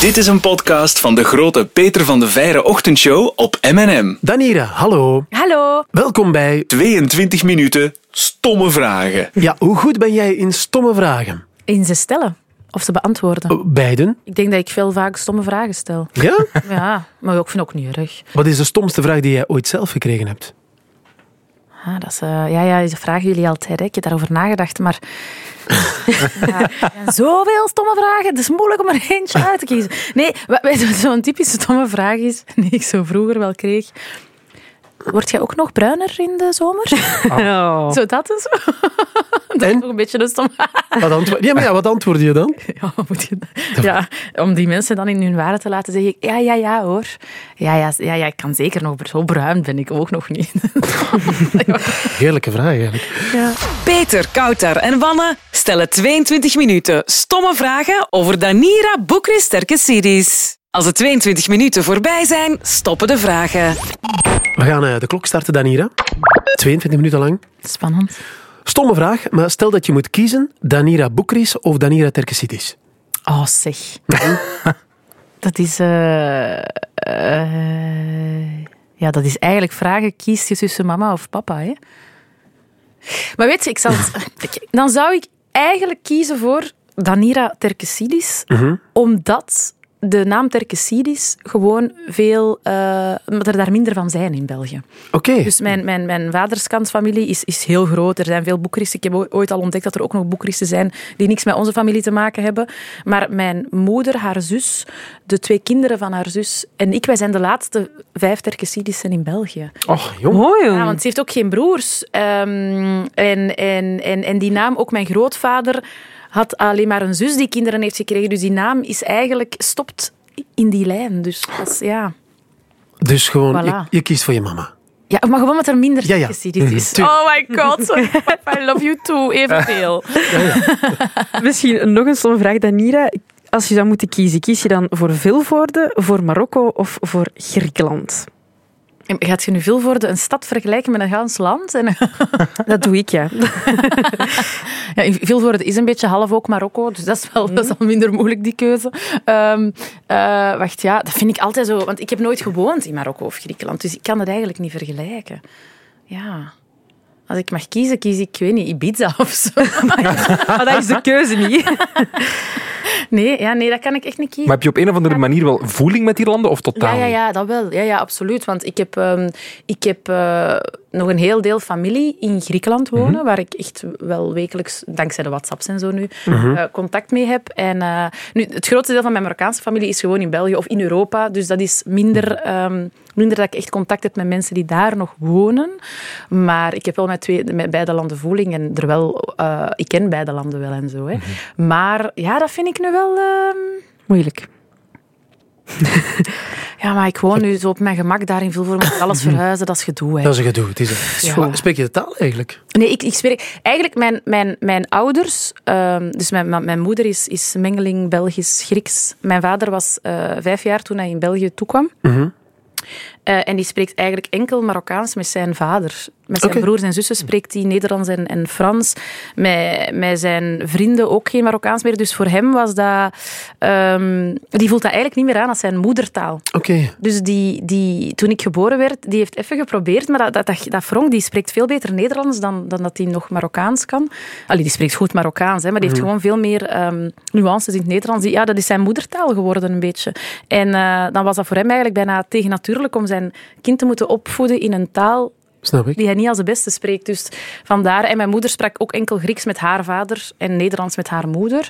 Dit is een podcast van de grote Peter van de Veire ochtendshow op M&M. Danira, hallo. Hallo. Welkom bij... 22 minuten stomme vragen. Ja, hoe goed ben jij in stomme vragen? In ze stellen of ze beantwoorden. Eh, Beiden. Ik denk dat ik veel vaak stomme vragen stel. Ja? Ja, maar ik vind het ook niet erg. Wat is de stomste vraag die jij ooit zelf gekregen hebt? Ah, dat is, eh, ja, ja, dat vragen jullie altijd. Hè. Ik heb daarover nagedacht, maar... ja, er zijn zoveel stomme vragen. Het is moeilijk om er eentje uit te kiezen. Nee, wa- weet je wat zo'n typische stomme vraag is, die ik zo vroeger wel kreeg... Word jij ook nog bruiner in de zomer? Zo dat en zo. Dat is En? nog een beetje een stomme... Wat antwo- ja, maar ja, wat antwoord je dan? Ja, wat moet je dan- ja, om die mensen dan in hun waarde te laten zeggen, ja, ja, ja hoor. Ja, ja, ja, ja ik kan zeker nog, zo bruin ben ik ook nog niet. Heerlijke vraag eigenlijk. Peter, Kouter en Wanne stellen 22 minuten stomme vragen over Danira Boekris Sterke Series. Als de 22 minuten voorbij zijn, stoppen de vragen. We gaan eh, de klok starten, Danira. 22 minuten lang. Spannend. Stomme vraag, maar stel dat je moet kiezen Danira Boekris of Danira Terkesitis. Oh, zeg. dat is... eh, eh, ja, dat is eigenlijk vragen, kies je tussen mama of papa, hè? Maar weet je, ik zal het- ik- dan zou ik eigenlijk kiezen voor Danira Terkesidis, omdat de naam Terkesidis gewoon veel, eh, omdat er daar minder van zijn in België. Oké. Dus mijn, mijn, mijn vaderskantsfamilie is, is heel groot. Er zijn veel boekristen. Ik heb oo- ooit al ontdekt dat er ook nog boekristen zijn die niks met onze familie te maken hebben. Maar mijn moeder, haar zus, de twee kinderen van haar zus en ik, wij zijn de laatste vijf Terkesidissen in België. Och, jong. Mooi, Mm. Ja, want ze heeft ook geen broers. Ehm, en, en, en, en die naam, ook mijn grootvader had alleen maar een zus die kinderen heeft gekregen. Dus die naam is eigenlijk stopt in die lijn. Dus dat is, ja. Dus gewoon, Voilà. je, je kiest voor je mama. Ja, maar gewoon wat er minder Ja, ja. Terkesidisch is. Tuurlijk. Oh my god, I love you too, evenveel. Misschien nog een stomme vraag, Danira. Als je zou moeten kiezen, kies je dan voor Vilvoorde, voor Marokko of voor Griekenland? En Gaat je nu veel voor de, een stad vergelijken met een gans land? En, Dat doe ik, ja. ja, Vilvoorde is een beetje half ook Marokko, dus dat is, wel, dat is al minder moeilijk, die keuze. Ehm, eh, wacht, ja, dat vind ik altijd zo. Want ik heb nooit gewoond in Marokko of Griekenland, dus ik kan dat eigenlijk niet vergelijken. Ja... Als ik mag kiezen, kies ik, ik weet niet, Ibiza of zo. Maar dat is de keuze niet. Nee, ja, nee, dat kan ik echt niet kiezen. Maar heb je op een of andere manier wel voeling met die landen of totaal Ja, ja, niet? ja, dat wel. Ja, ja, absoluut. Want ik heb, ehm, ik heb eh, nog een heel deel familie in Griekenland wonen, waar ik echt wel wekelijks, dankzij de WhatsApps en zo nu, eh, contact mee heb. En eh, nu, het grootste deel van mijn Marokkaanse familie is gewoon in België of in Europa. Dus dat is minder, ehm, minder dat ik echt contact heb met mensen die daar nog wonen. Maar ik heb wel met, twee, met beide landen voeling en er wel, eh, ik ken beide landen wel en zo. Hè. Maar ja, dat vind ik nu wel... ehm, Moeilijk. ja, maar ik woon nu zo op mijn gemak daar in Vilvoorde. Moet ik alles verhuizen, dat is gedoe. Hè. Dat is een gedoe. Het is een... Ja. Maar Spreek je de taal eigenlijk? Nee, ik, ik zweer... het. Eigenlijk, mijn, mijn, mijn ouders... ehm, dus mijn, mijn, mijn moeder is, is mengeling Belgisch-Grieks. Mijn vader was eh, vijf jaar toen hij in België toekwam. Mhm. Eh, en die spreekt eigenlijk enkel Marokkaans met zijn vader. Met zijn Oké. broers en zussen spreekt hij Nederlands en, en Frans. Met, met zijn vrienden ook geen Marokkaans meer. Dus voor hem was dat... ehm, die voelt dat eigenlijk niet meer aan als zijn moedertaal. Oké. Dus die, die, toen ik geboren werd, die heeft even geprobeerd, maar dat, dat, dat, dat Frank, die spreekt veel beter Nederlands dan, dan dat hij nog Marokkaans kan. Allee, die spreekt goed Marokkaans, hè, maar die heeft gewoon veel meer ehm, nuances in het Nederlands. Die, ja, dat is zijn moedertaal geworden een beetje. En eh, dan was dat voor hem eigenlijk bijna tegennatuurlijk om zijn kind te moeten opvoeden in een taal Snap ik. die hij niet als de beste spreekt. Dus vandaar. En mijn moeder sprak ook enkel Grieks met haar vader en Nederlands met haar moeder.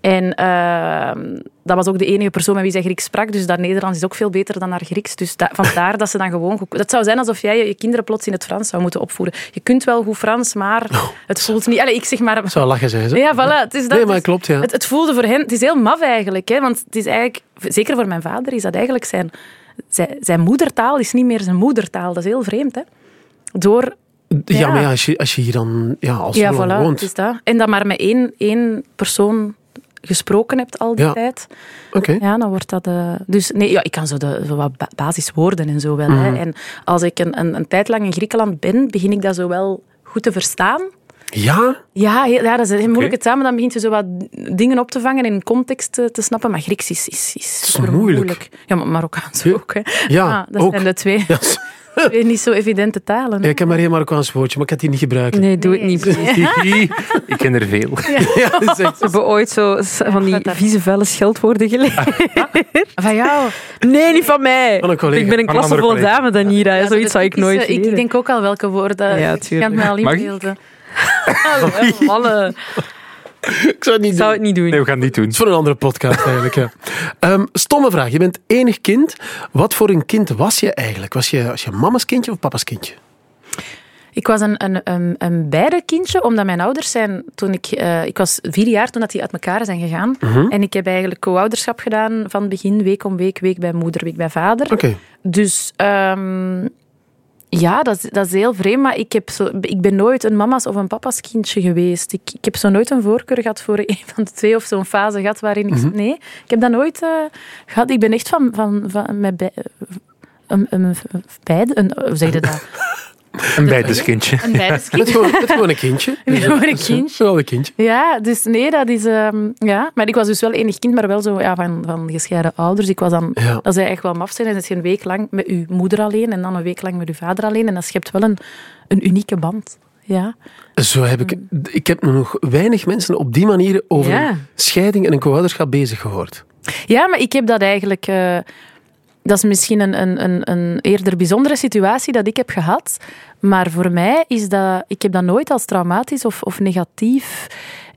En ehm, dat was ook de enige persoon met wie zij Grieks sprak. Dus dat Nederlands is ook veel beter dan haar Grieks. Dus da- vandaar dat ze dan gewoon... geko- Dat zou zijn alsof jij je, je kinderen plots in het Frans zou moeten opvoeden. Je kunt wel goed Frans, maar het voelt niet... Allee, ik zeg maar... Zou lachen zijn ze. Ja, voilà. Het is dat, Nee, maar het is- klopt, ja. Het, het voelde voor hen... Het is heel maf eigenlijk, hè. Want het is eigenlijk... Zeker voor mijn vader is dat eigenlijk zijn... Zijn, zijn moedertaal is niet meer zijn moedertaal. Dat is heel vreemd, hè. Door... Ja, Ja. maar ja, als, je, als je hier dan ja, als Ja, je voilà, woont. het is dat. En dat maar met één, één persoon gesproken hebt al die Ja. tijd. Oké. Ja, dan wordt dat... eh, dus nee, ja, ik kan zo, de, zo wat ba- basiswoorden en zo wel. Mhm. Hè. En als ik een, een, een tijd lang in Griekenland ben, begin ik dat zo wel goed te verstaan. Ja? Ja, heel- ja dat is een moeilijke taal, maar dan begint je zo wat dingen op te vangen en in context te, te snappen. Maar Grieks is, is, is super moeilijk. Ja, maar Marokkaans Ja. ook. Hè. Ja, Ah, dat ook. zijn de twee, Ja, s- twee niet zo evidente talen. hè. ja, ik heb maar één Marokkaans woordje, maar ik kan die niet gebruiken. Nee, doe het niet. Ik ken er veel. Ja, dat is echt- We hebben ooit zo s- van die vieze, vuile scheldwoorden geleerd. Van jou. Nee, niet van mij. Van een collega. Ik ben een Van een andere klassevolle dame, collega. Danira. Ja, Zoiets de zou eh, ik typische- nooit Ik, ik denk ook al welke woorden. Ja, ik kan het me tuurlijk. al Mag ik? inbeelden. Mannen, Ik zou het niet ik doen. zou het niet doen. Nee, we gaan het niet doen. Het is voor een andere podcast eigenlijk. Ja. Ehm, stomme vraag. Je bent enig kind. Wat voor een kind was je eigenlijk? Was je, was je mama's kindje of papa's kindje? Ik was een, een, een, een beide kindje, omdat mijn ouders zijn toen ik... eh, ik was vier jaar toen dat die uit elkaar zijn gegaan. En ik heb eigenlijk co-ouderschap gedaan van het begin, week om week, week bij moeder, week bij vader. Oké. Dus ehm, ja, dat, is- dat is heel vreemd, maar ik, heb zo, ik ben nooit een mama's of een papa's kindje geweest. Ik, ik heb zo nooit een voorkeur gehad voor een van de twee of zo'n fase gehad waarin ik... Nee, ik heb dat nooit eh, gehad. Ik ben echt van... van, van met bij, een, een, beide... Een, hoe zeg je dat? Een bijteskindje. Een Je bent beiderskind. gewoon, je bent gewoon een kindje. bent Dus, gewoon een dat is kindje. Wel een kindje. Ja, dus nee, dat is... ehm, ja. Maar ik was dus wel enig kind, maar wel zo ja, van, van gescheiden ouders. Ik was dan... Ja. Als hij echt wel maf zijn, dan is je een week lang met uw moeder alleen en dan een week lang met uw vader alleen. En dat schept wel een, een unieke band. Ja. Zo heb ik... Ik heb nog weinig mensen op die manier over Ja. een scheiding en een co-ouderschap bezig gehoord. ja, maar ik heb dat eigenlijk... eh, dat is misschien een, een, een, een eerder bijzondere situatie dat ik heb gehad. Maar voor mij is dat... Ik heb dat nooit als traumatisch of, of negatief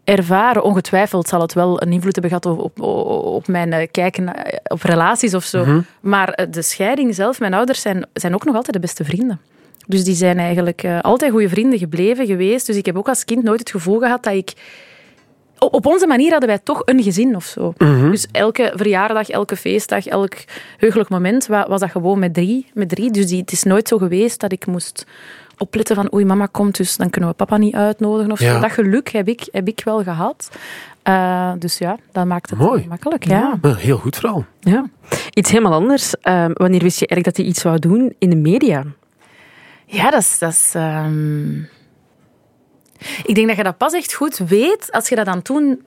ervaren. Ongetwijfeld zal het wel een invloed hebben gehad op, op, op mijn eh, kijken naar- eh, op relaties of zo. Maar eh, de scheiding zelf, mijn ouders zijn, zijn ook nog altijd de beste vrienden. Dus die zijn eigenlijk eh, altijd goede vrienden gebleven geweest. Dus ik heb ook als kind nooit het gevoel gehad dat ik... Op, op onze manier hadden wij toch een gezin of zo. Mhm. Dus elke verjaardag, elke feestdag, elk heugelijk moment wa- was dat gewoon met drie. Met drie. Dus die, het is nooit zo geweest dat ik moest opletten van oei, mama komt, dus dan kunnen we papa niet uitnodigen. Of Ja. zo. Dat geluk heb ik, heb ik wel gehad. Eh, dus ja, dat maakt het Mooi. makkelijk. Ja. Nou, heel goed vooral. Ja. Iets helemaal anders. Ehm, wanneer wist je eigenlijk dat hij iets zou doen in de media? Ja, dat is... Dat is ehm, Ik denk dat je dat pas echt goed weet als je dat dan toen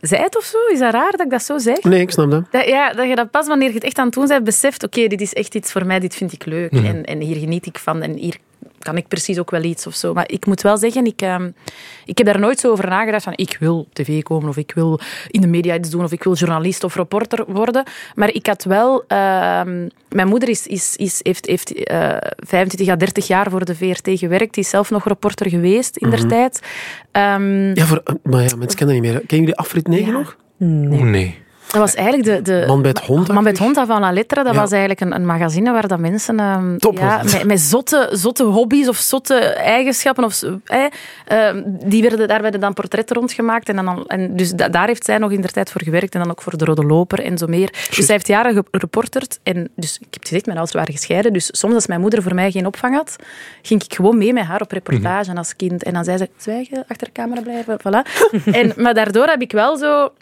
zei of zo. Is dat raar dat ik dat zo zeg? Nee, ik snap dat. Dat, ja, dat je dat pas wanneer je het echt aan het doen bent, beseft, oké, dit is echt iets voor mij, dit vind ik leuk. En, en hier geniet ik van en hier kan ik precies ook wel iets of zo. Maar ik moet wel zeggen, ik, ehm, ik heb daar nooit zo over nagedacht van ik wil tv komen of ik wil in de media iets doen of ik wil journalist of reporter worden. Maar ik had wel... ehm, mijn moeder is, is, is, heeft, heeft eh, 25 à 30 jaar voor de VRT gewerkt. Die is zelf nog reporter geweest in der tijd. Ehm, Ja, voor, maar ja, mensen kennen dat niet meer. Kennen jullie afrit 9 Ja. nog? Oh nee. Dat was eigenlijk de... de Man bij het hond, Man bij eigenlijk? het Ah, hond van La Letra. Dat Ja. was eigenlijk een, een magazine waar dat mensen... ehm, Top was ja, het. met, met zotte, zotte hobby's of zotte eigenschappen. Of, zo- eh, ehm, die werden, daar werden dan portretten rondgemaakt. En dan, al- en dus da- daar heeft zij nog in de tijd voor gewerkt. En dan ook voor de Rode Loper en zo meer. Dus zij heeft jaren gereporterd. En dus, ik heb het gezegd, mijn ouders waren gescheiden. Dus soms als mijn moeder voor mij geen opvang had, ging ik gewoon mee met haar op reportage Mhm. als kind. En dan zei ze, zwijgen, achter de camera blijven, voilà. en, maar daardoor heb ik wel zo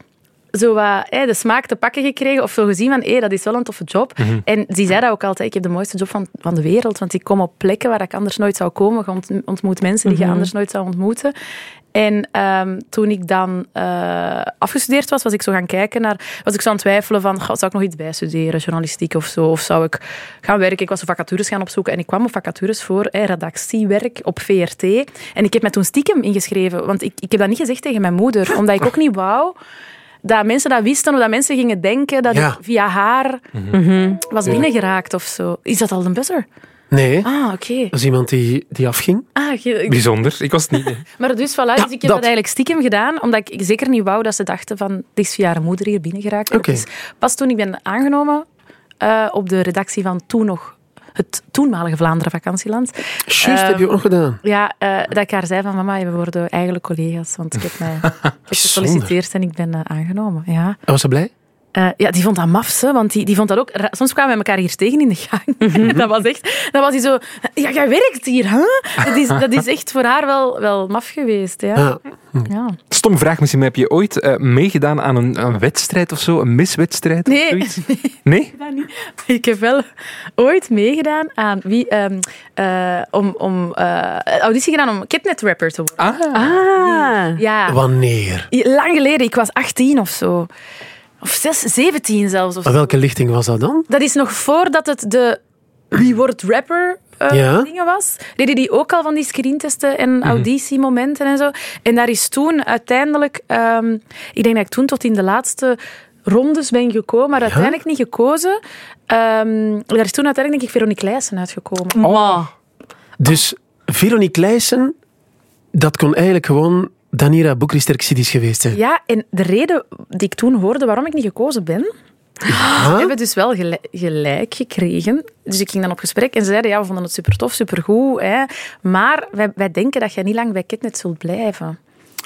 zo wat, hè, de smaak te pakken gekregen. Of zo gezien van, hé, dat is wel een toffe job. En die zei dat ook altijd. Ik heb de mooiste job van, van de wereld. Want ik kom op plekken waar ik anders nooit zou komen. Je ont- ontmoet mensen die je anders nooit zou ontmoeten. En ehm, toen ik dan eh, afgestudeerd was, was ik zo gaan kijken naar... Was ik zo aan het twijfelen van, goh, zou ik nog iets bijstuderen? Journalistiek of zo? Of zou ik gaan werken? Ik was zo vacatures gaan opzoeken. En ik kwam op vacatures voor hè, redactiewerk op VRT. En ik heb me toen stiekem ingeschreven. Want ik, ik heb dat niet gezegd tegen mijn moeder. Omdat ik ook niet wou dat mensen dat wisten of dat mensen gingen denken dat Ja. Mhm. ik via haar was binnengeraakt of zo. Is dat al een buzzer? Nee. Ah, oké. Dat is iemand die, die afging. Ah, ge- Bijzonder. Ik was het niet. nee. maar dus, voilà, dus ik heb dat. dat. eigenlijk stiekem gedaan, omdat ik- ik zeker niet wou dat ze dachten van, dit is via haar moeder hier binnengeraakt. En Oké. het is pas toen ik ben aangenomen eh, op de redactie van toen nog het toenmalige Vlaanderen vakantieland, Juist, heb je ook nog gedaan. ja, eh, dat ik haar zei van, mama, we worden eigenlijk collega's, want ik heb mij ik heb gesolliciteerd en ik ben eh, aangenomen. Ja. En was ze blij? Eh, ja, die vond dat mafs, hè, want die, die vond dat ook... ra- Soms kwamen we elkaar hier tegen in de gang. dat was echt... Dat was die zo... Ja, jij werkt hier, hè? Dat is, dat is echt voor haar wel, wel maf geweest, ja. Ja. ja. Stom vraag misschien, maar heb je ooit eh, meegedaan aan een, een wedstrijd of zo? Een miswedstrijd of Nee. zoiets? Nee? dat niet. Ik heb wel ooit meegedaan aan wie, ehm, eh, om, om eh, auditie gedaan om Kidnet Rapper te worden. Ah, Ah. Ja, Wanneer? lang geleden. Ik was 18 of zo. Of 6, 17 zelfs. Of Maar zo. welke lichting was dat dan? Dat is nog voordat het de Wie wordt rapper eh, Ja. dingen was. Deden die ook al van die screentesten en auditiemomenten en zo. En daar is toen uiteindelijk... ehm, ik denk dat ik toen tot in de laatste rondes ben gekomen, maar uiteindelijk niet gekozen. Ehm, daar is toen uiteindelijk denk ik Veronique Leijsen uitgekomen. Wow. Dus Veronique Leijsen, dat kon eigenlijk gewoon Danira Boekristerk-Sidis geweest zijn. Ja, en de reden die ik toen hoorde waarom ik niet gekozen ben, hebben dus wel gel- gelijk gekregen. Dus ik ging dan op gesprek en ze zeiden, ja, we vonden het super tof, super goed. Hè. Maar wij, wij denken dat jij niet lang bij Kidnet zult blijven.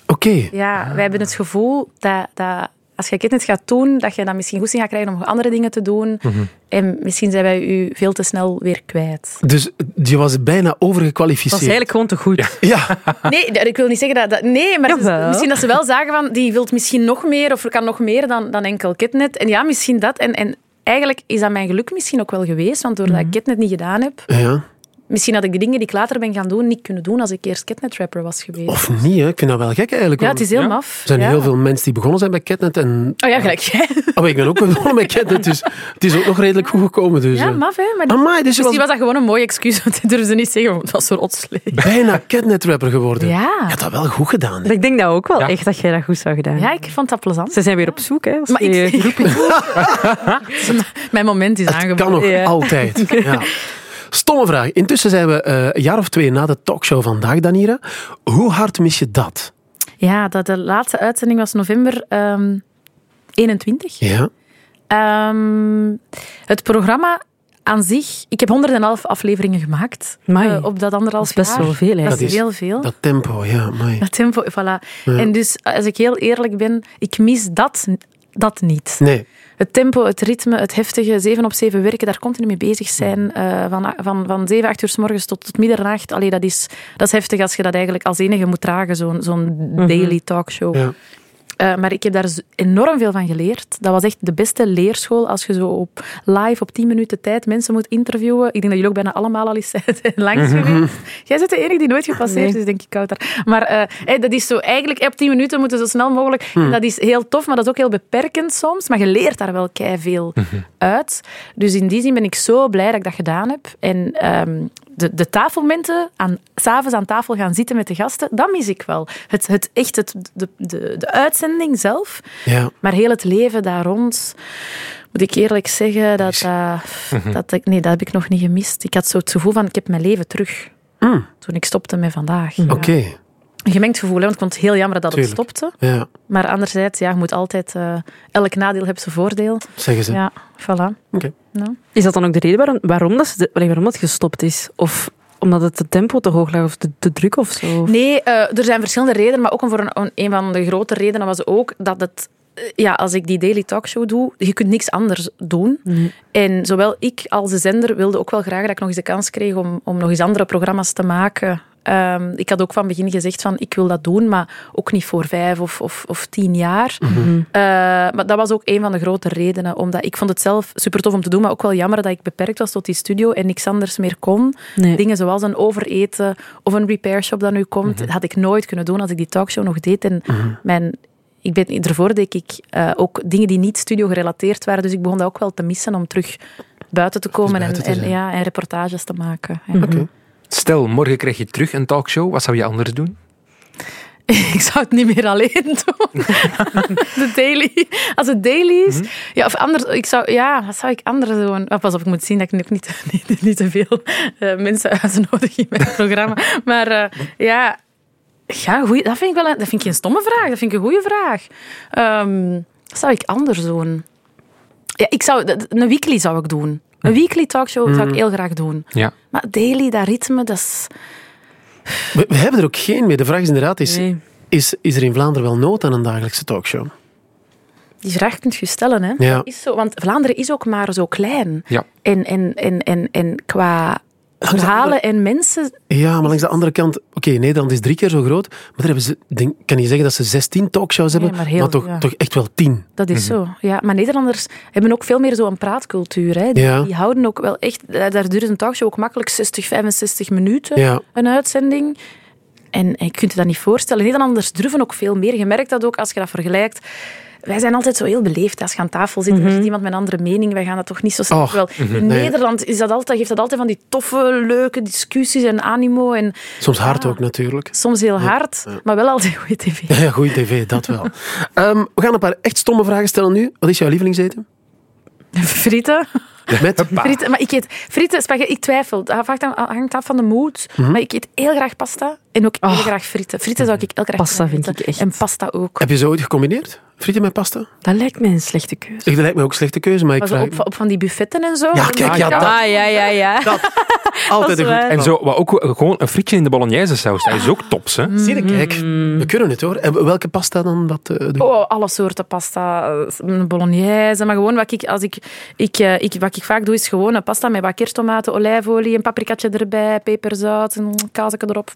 Oké. Ja, wij hebben het gevoel dat, dat als je Kidnet gaat doen, dat je dan misschien goesting gaat krijgen om andere dingen te doen. En misschien zijn wij u veel te snel weer kwijt. Dus je was bijna Dat was overgekwalificeerd. eigenlijk gewoon te goed. Ja, Nee, d- ik wil niet zeggen dat... dat nee, maar ze- Jawel. misschien dat ze wel zagen van... Die wilt misschien nog meer of er kan nog meer dan, dan enkel Kidnet. En ja, misschien dat. En, en eigenlijk is dat mijn geluk misschien ook wel geweest. Want doordat ik Kidnet niet gedaan heb... ja. Misschien had ik de dingen die ik later ben gaan doen niet kunnen doen als ik eerst Kidnet rapper was geweest. Of niet, hè. Ik vind dat wel gek eigenlijk. ja, want het is heel Ja. maf. Oh, Er zijn ja. heel veel mensen die begonnen zijn bij Catnet. En... Oh ja, gelijk jij. Oh, maar ik ben ook begonnen bij Catnet, dus het is ook nog redelijk goed gekomen. Dus, Ja, eh. maf, hè. Maar die- Amai, dus je misschien was was dat gewoon een mooi excuus, want ik durfde niet zeggen, want het was zo rotsleeg. bijna Catnet-rapper geworden. Ja. Je hebt dat wel goed gedaan. hè. Maar Dus ik denk dat ook wel Ja. echt dat jij dat goed zou gedaan. ja, ik vond dat plezant. Ze zijn weer op zoek, hè. als Maar die, ik- eh, groepen- Mijn moment is Het kan aangeboden. nog altijd. Ja. Stomme vraag. Intussen zijn we eh, een jaar of twee na de talkshow vandaag, Danira. Hoe hard mis je dat? Ja, dat de laatste uitzending was november ehm 21. Ja. Ehm, het programma aan zich... Ik heb 111 afleveringen gemaakt Amai. eh, op dat anderhalf Dat is best jaar. wel veel, hè. Dat, Dat is is- heel veel. Dat tempo, ja. Mooi. Dat tempo, voilà. En dus, als ik heel eerlijk ben, ik mis dat, dat niet. Nee. Het tempo, het ritme, het heftige, zeven op zeven werken, daar continu mee bezig zijn. eh, van, van, van zeven, acht uur s morgens tot, tot middernacht. Allee, dat is, dat is heftig als je dat eigenlijk als enige moet dragen, zo'n zo'n daily talkshow. Ja. Eh, maar ik heb daar z- enorm veel van geleerd. Dat was echt de beste leerschool als je zo op live op 10 minuten tijd mensen moet interviewen. Ik denk dat jullie ook bijna allemaal al eens zijn langs geweest. Jij bent de enige die nooit gepasseerd is, denk ik, Kouter. Maar eh, hey, dat is zo eigenlijk op 10 minuten moeten zo snel mogelijk. En dat is heel tof, maar dat is ook heel beperkend soms. Maar je leert daar wel kei veel uit. Dus in die zin ben ik zo blij dat ik dat gedaan heb. En ehm, de, de tafelmomenten, aan, s'avonds aan tafel gaan zitten met de gasten, dat mis ik wel. Het, het echt, het, de, de, de uitzending zelf. Ja. Maar heel het leven daar rond, moet ik eerlijk zeggen, dat, dat, dat, ik- nee, dat heb ik nog niet gemist. Ik had zo het gevoel van, ik heb mijn leven terug. Toen ik stopte met vandaag. Ja. Ah. Mm. Oké. Een gemengd gevoel, hè, want ik vond het heel jammer dat het Tuurlijk. stopte. Ja. Maar anderzijds, ja, je moet altijd... eh, elk nadeel heeft zijn voordeel. Zeggen ze. Ja, voilà. Oké. Is dat dan ook de reden waarom, waarom, dat, ze de- allee, waarom dat gestopt is? Of omdat het de tempo te hoog lag of te, te druk of zo? Nee, eh, er zijn verschillende redenen, maar ook een, voor een, een- een van de grote redenen was ook dat het... eh, Ja, als ik die daily talkshow doe, je kunt niks anders doen. En zowel ik als de zender wilde ook wel graag dat ik nog eens de kans kreeg om, om nog eens andere programma's te maken. Ehm, ik had ook van begin gezegd van, ik wil dat doen, maar ook niet voor vijf of, of, of tien jaar. Mhm. Eh, maar dat was ook een van de grote redenen. Omdat ik vond het zelf super tof om te doen, maar ook wel jammer dat ik beperkt was tot die studio en niks anders meer kon. Nee. Dingen zoals een overeten of een repair shop dat nu komt, Mhm. dat had ik nooit kunnen doen als ik die talkshow nog deed. En mijn, ik ben, daarvoor deed ik eh, ook dingen die niet studio gerelateerd waren. Dus ik begon dat ook wel te missen om terug buiten te komen buiten te en, en, zijn. Mhm. ja, en reportages te maken. Ja. Stel, morgen krijg je terug een talkshow. Wat zou je anders doen? ik zou het niet meer alleen doen. de daily. Als het daily is. Ja, of anders. Ik zou, ja, wat zou ik anders doen? Oh, pas op, ik moet zien dat ik nu ook niet, niet, niet te veel eh, mensen uitnodig in mijn programma. Maar eh, ja, ja goeie, dat, vind ik wel een- dat vind ik geen stomme vraag. Dat vind ik een goede vraag. Ehm, wat zou ik anders doen? Ja, ik zou, dat- een weekly zou ik doen. Een weekly talkshow zou ik heel graag doen. Ja. Maar daily, dat ritme, dat is... We, we hebben er ook geen meer. De vraag is inderdaad, is, Nee. is, is er in Vlaanderen wel nood aan een dagelijkse talkshow? die vraag kunt je stellen. Hè. Ja. Is zo, want Vlaanderen is ook maar zo klein. Ja. En, en, en, en, en qua de verhalen en mensen... Ja, maar langs de andere kant... Oké, Nederland is drie keer zo groot, maar daar hebben ze... Denk, ik kan niet zeggen dat ze 16 talkshows hebben, Nee, maar heel- toch, ja. toch echt wel tien. Dat is Mhm. zo. Ja. Maar Nederlanders hebben ook veel meer zo'n praatcultuur. Hè. Die, Ja. die houden ook wel echt... Daar duurt een talkshow ook makkelijk 60, 65 minuten. Ja. een uitzending. En, en je kunt je dat niet voorstellen. Nederlanders durven ook veel meer. Je merkt dat ook als je dat vergelijkt. Wij zijn altijd zo heel beleefd als je aan tafel zit. Er zit iemand met een andere mening. Wij gaan dat toch niet zo snel. Och, Mhm. Wel, in nee. Nederland is dat altijd, geeft dat altijd van die toffe, leuke discussies en animo. En Soms hard ook, natuurlijk. soms heel hard, maar wel altijd goede tv. Ja, goeie tv, dat wel. Ehm, we gaan een paar echt stomme vragen stellen nu. Wat is jouw lievelingseten? Frieten. Met? frieten. Maar ik eet frieten, spaghetti. Ik twijfel. Dat hangt af- hangt af van de mood. Mhm. Maar ik eet heel graag pasta en ook heel graag frieten. Frieten zou ik heel graag Ah. Pasta kunnen vind eten. ik echt- En pasta ook. Heb je ze ooit gecombineerd? Frieten met pasta? Dat lijkt mij een slechte keuze. Ik, dat lijkt me ook een slechte keuze, maar ik Maar zo vraag... op, op van die buffetten en zo. Ja, kijk, ja, dat, Ah, ja, ja, ja. altijd een waar. goed En zo, maar ook eh, gewoon een frietje in de bolognese saus. Dat is ook tops, hè? Zie je, kijk, we kunnen het hoor. En welke pasta dan? Wat, eh, doe- Oh, alle soorten pasta. eh, Bolognese. Maar gewoon wat ik, als ik, ik, eh, ik, wat ik vaak doe, is gewoon een pasta met wat kersttomaten, olijfolie, een paprikatje erbij, peperzout, een kaasje erop.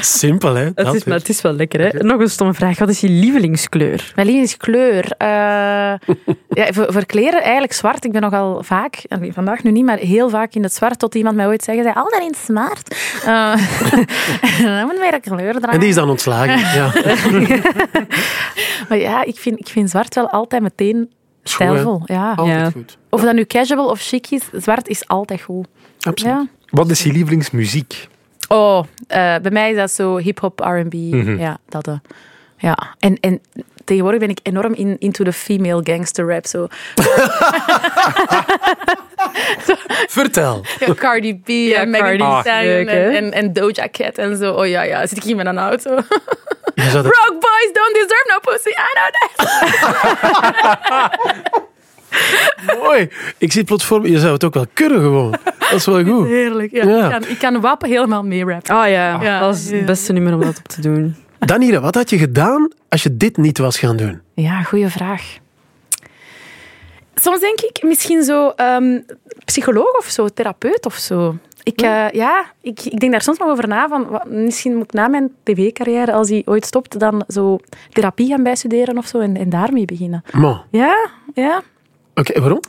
Simpel, hè? Het Dat is, maar weer. het is wel lekker, hè. Nog een stomme vraag. Wat is je lievelingskleur? Mijn lievelingskleur. eh ja, voor, voor kleren eigenlijk zwart. Ik ben nogal vaak, allee, vandaag nu niet, maar heel vaak in het zwart. Tot iemand mij ooit zeggen, zei, altijd in het zwart. Eh, dan moet je weer een kleur dragen. En die is dan ontslagen. Ja. Maar ja, ik vind, ik vind zwart wel altijd meteen goed, hè? Oh. stijlvol. Ja. Altijd Ja. goed. Of dat nu casual of chic is, zwart is altijd goed. Absoluut. Ja. Wat is je lievelingsmuziek? Oh, eh, bij mij is dat zo hip-hop, RB. Mhm. Ja, dat. eh. ja. En, en tegenwoordig ben ik enorm in, into the female gangster rap. Zo. Vertel. Ja, Cardi B en Megan Cardi. Thee Ah, Stallion leuk, hè? en, en, en Doja Cat en zo. Oh ja, ja, zit ik hier met een auto. Je zou dat- Rock boys don't deserve no pussy, I know that. Mooi. Ik zie het plots voor me. Je zou het ook wel kunnen gewoon. Dat is wel goed. Heerlijk, ja. Ja. Ik, kan, ik kan wappen helemaal mee rappen. Ah ja, Ja. dat is het beste nummer om dat op te doen. Danira, wat had je gedaan als je dit niet was gaan doen? Ja, goede vraag. Soms denk ik misschien zo ehm, psycholoog of zo, therapeut of zo. Ik, eh, ja, ik, ik denk daar soms nog over na. Van, wat- misschien moet ik na mijn tv-carrière, als die ooit stopt, dan zo therapie gaan bijstuderen of zo en, en daarmee beginnen. Man. Ja, ja. Oké, waarom?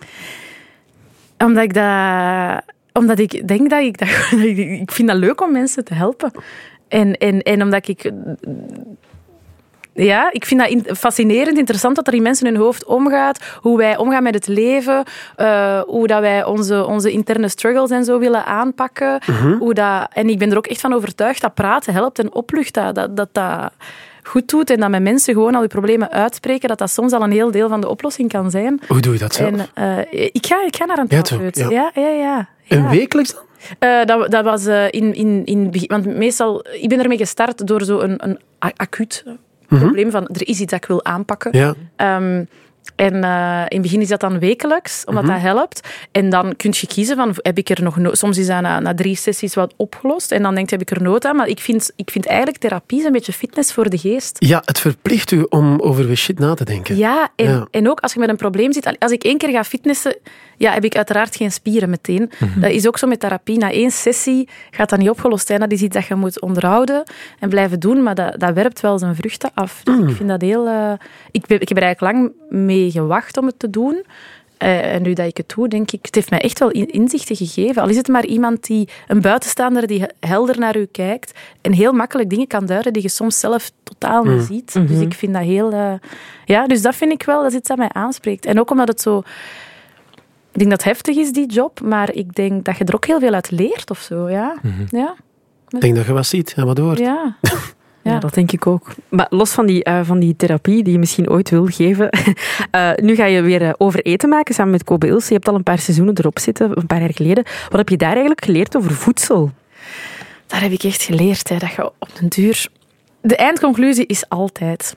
Omdat ik dat... Omdat ik denk dat ik dat... Ik vind dat leuk om mensen te helpen. En, en, en omdat ik... Ja, ik vind dat in- fascinerend, interessant dat er in mensen hun hoofd omgaat. Hoe wij omgaan met het leven. eh, hoe dat wij onze, onze interne struggles en zo willen aanpakken. hoe dat, en ik ben er ook echt van overtuigd dat praten helpt en oplucht. Dat dat, dat, dat goed doet en dat met mensen gewoon al je problemen uitspreken. Dat dat soms al een heel deel van de oplossing kan zijn. Hoe doe je dat zelf? En, eh, ik, ga, ik ga naar een Ja, therapeut. toch? Ja, ja, ja. ja. En wekelijks dan? Eh, dat, dat was eh, in, in, in het begin- Want meestal, ik ben ermee gestart door zo'n een, een a- acuut probleem van er is iets dat ik wil aanpakken. Mhm. Ja. Ehm, en eh, in het begin is dat dan wekelijks, omdat Mhm. dat helpt. En dan kun je kiezen van, heb ik er nog no- Soms is dat na, na drie sessies wat opgelost en dan denk je, heb ik er nood aan? Maar ik vind, ik vind eigenlijk therapie is een beetje fitness voor de geest. ja, het verplicht u om over weer shit na te denken. Ja, en, Ja. en ook als je met een probleem zit. Als ik één keer ga fitnessen, ja, heb ik uiteraard geen spieren meteen. Dat is ook zo met therapie. Na één sessie gaat dat niet opgelost zijn. Dat is iets dat je moet onderhouden en blijven doen. Maar dat, dat werpt wel zijn vruchten af. Dus ik vind dat heel... eh, ik, ben- ik heb er eigenlijk lang mee gewacht om het te doen. Eh, en nu dat ik het doe, denk ik... Het heeft mij echt wel in- inzichten gegeven. Al is het maar iemand die... Een buitenstaander die helder naar u kijkt en heel makkelijk dingen kan duiden die je soms zelf totaal niet ziet. Dus ik vind dat heel... eh, ja, dus dat vind ik wel, dat is iets dat mij aanspreekt. En ook omdat het zo... Ik denk dat het heftig is, die job, maar ik denk dat je er ook heel veel uit leert of zo. Ja, ja, Ik denk dat je wat ziet en wat hoort. ja. Ja, dat denk ik ook. Maar los van die, eh, van die therapie die je misschien ooit wil geven, eh, nu ga je weer eh, over eten maken samen met Kobe Ilse. Je hebt al een paar seizoenen erop zitten, een paar jaar geleden. Wat heb je daar eigenlijk geleerd over voedsel? Daar heb ik echt geleerd, hè, dat je op den duur... De eindconclusie is altijd...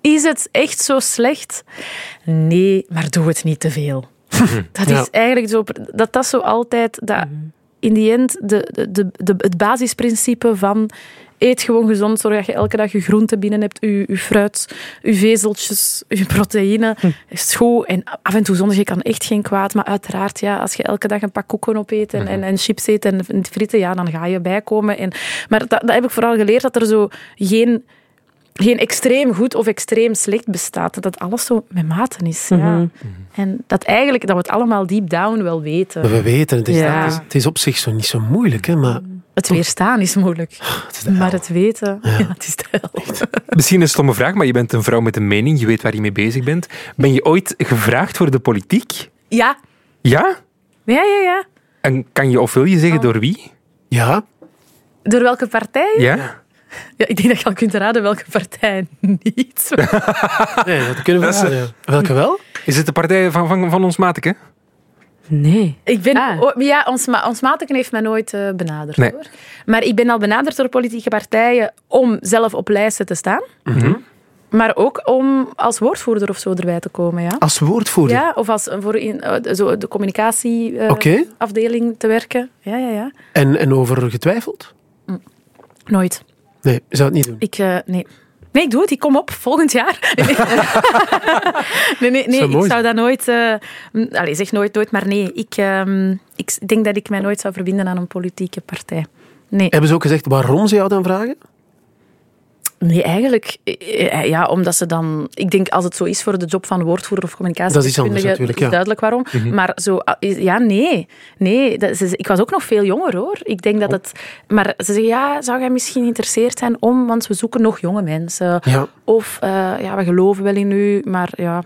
Is het echt zo slecht? Nee, maar doe het niet te veel. dat Ja. is eigenlijk zo... Dat dat zo altijd... Dat in die end de, de, de, de- het basisprincipe van... Eet gewoon gezond. Zorg dat je elke dag je groenten binnen hebt, je, je fruit, je vezeltjes, je proteïne. Is goed. En af en toe zondig je kan echt geen kwaad. Maar uiteraard, ja, als je elke dag een pak koeken opeet en, Mhm. en, en chips eet en frieten, ja, dan ga je bijkomen. En, maar dat, dat heb ik vooral geleerd, dat er zo geen geen extreem goed of extreem slecht bestaat. Dat alles zo met maten is. Mhm. ja. Mhm. En dat eigenlijk dat we het allemaal deep down wel weten. Maar we weten, het is, Ja. Mm. het is, het is op zich zo niet zo moeilijk, hè, maar Het weerstaan is moeilijk. het is de Maar hel. het weten, ja. het is de hel. Misschien een stomme vraag, maar je bent een vrouw met een mening. Je weet waar je mee bezig bent. Ben je ooit gevraagd voor de politiek? Ja, Ja? ja, ja, ja. En kan je of wil je zeggen door wie? Ja, Door welke partij? Ja. Ja? ik denk dat je al kunt raden welke partij niet. nee, dat kunnen we Dat is- raden, ja. Welke wel? Is het de partij van, van, van ons Mateke? Nee. Ik ben, Ah. oh, ja, ons, ma ons mateken heeft mij nooit eh, benaderd. Nee. Hoor. Maar ik ben al benaderd door politieke partijen om zelf op lijsten te staan. Mhm. Maar ook om als woordvoerder of zo erbij te komen. Ja. Als woordvoerder. Ja, eh. of als voor in, eh, zo de Oké. communicatieafdeling te werken. Ja, ja, ja. En, en over getwijfeld? Nooit. Nee, je zou het niet doen. Ik, eh, nee. Nee, ik doe het. Ik kom op volgend jaar. Nee, nee, nee, nee, Zou mooi ik zijn. zou dat nooit... eh, m, allee, zeg nooit, nooit, maar nee. Ik, ehm, ik s- denk dat ik mij nooit zou verbinden aan een politieke partij. Nee, Hebben ze ook gezegd waarom ze jou dan vragen? nee eigenlijk... eh, eh, Ja, omdat ze dan... Ik denk, als het zo is voor de job van woordvoerder of communicatie... Dat is iets anders natuurlijk, ja. Mhm. duidelijk waarom. Maar zo... ah, is- Ja, nee. Nee, dat, ze- ik was ook nog veel jonger, hoor. Ik denk Oh. dat het... Maar ze zeggen, ja, zou jij misschien geïnteresseerd zijn om... Want we zoeken nog jonge mensen. Ja. Of eh, ja, we geloven wel in u, maar ja.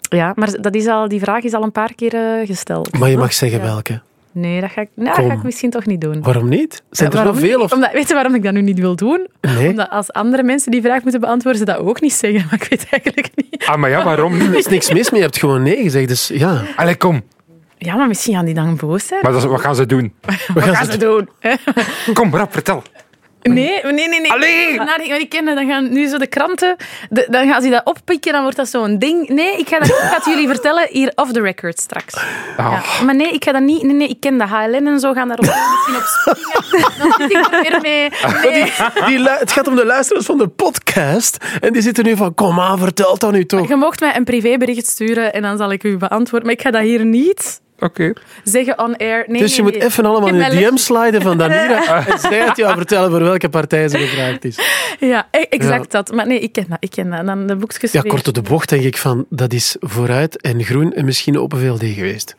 Ja, maar dat is al, die vraag is al een paar keer eh, gesteld. Maar je mag zeggen welke. Nee, dat ga ik, nou, dat Kom. ga ik misschien toch niet doen. Waarom niet? Zijn er Waarom zoveel? niet? Of... Omdat, weet je waarom ik dat nu niet wil doen? Nee, Omdat als andere mensen die vraag moeten beantwoorden, ze dat ook niet zeggen. Maar ik weet eigenlijk niet. Ah, maar ja, waarom er niet? is niks mis mee. Je hebt gewoon nee gezegd. Dus ja, Allee, kom. Ja, maar misschien gaan die dan boos zijn. Maar dat is- wat gaan ze doen? we gaan Wat gaan ze doen? hè? Kom, rap, vertel. Nee, nee, nee. nee. Allee! Nou, die, maar die kinderen, dan gaan nu zo de kranten, de- dan gaan ze dat oppikken, dan wordt dat zo'n ding. Nee, ik ga, dat, ik ga het jullie vertellen hier off the record straks. Ah. Ah. Ja, maar nee, ik ga dat niet. Nee, nee, ik ken de HLN en zo gaan daar op- misschien op springen. Dan zit ik er weer mee. Nee. Ah, Die lu- het gaat om de luisteraars van de podcast. En die zitten nu van, kom aan, vertel dat nu toch. Je mocht mij een privébericht sturen en dan zal ik u beantwoorden. Maar ik ga dat hier niet Oké. zeggen on air. Nee, Dus je nee, moet nee. even allemaal in Ik de heb mijn DM sliden van Danira. En zij Ah, het jou vertellen voor welke partij ze gevraagd is. Ja, e- exact Ja. dat. Maar nee, ik ken dat. Ik ken dat. En dan de boekjes Ja, weer. kort op de bocht denk ik van, dat is vooruit en groen en misschien Open VLD geweest.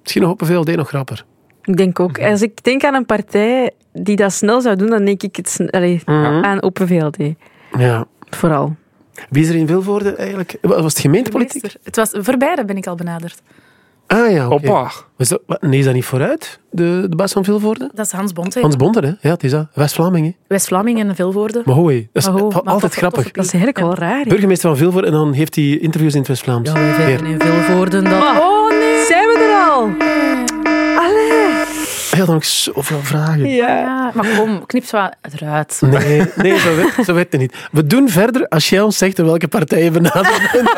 Misschien nog Open VLD nog grapper. Ik denk ook. Als ik denk aan een partij die dat snel zou doen, dan denk ik het sn- allee, aan Open VLD. Ja. Vooral. Wie is er in Vilvoorde eigenlijk? Was het gemeentepolitiek? Meester. Het was, voor beide ben ik al benaderd. Ah ja, oké. Hoppa. Was dat- wat- Nee, is dat niet vooruit? De, de baas van Vilvoorde? Dat is Hans Bonte. Hans Bonder, hè? Ja, het is dat. West-Vlamingen. West-Vlamingen en Vilvoorde. Maar hoi, dat is Maar ho, va- maar altijd toffe- grappig. toffe Dat is eigenlijk wel raar. hè. Burgemeester van Vilvoorde en dan heeft hij interviews in het West-Vlaams. Weer. in Vilvoorde. Dat... Oh nee! Zijn we er al? Allee! Hij had dan ook zoveel vragen. Ja. Ja, maar kom, knip ze wel eruit. Nee, nee zo, werkt, zo werkt het niet. We doen verder als jij ons zegt door welke partij je benaderd bent.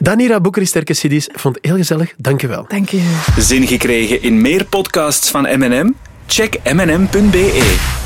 Danira Boeker is sterke CD's. Vond het heel gezellig. Dank je wel. Dank u. Zin gekregen in meer podcasts van M&M? Check mnm.be.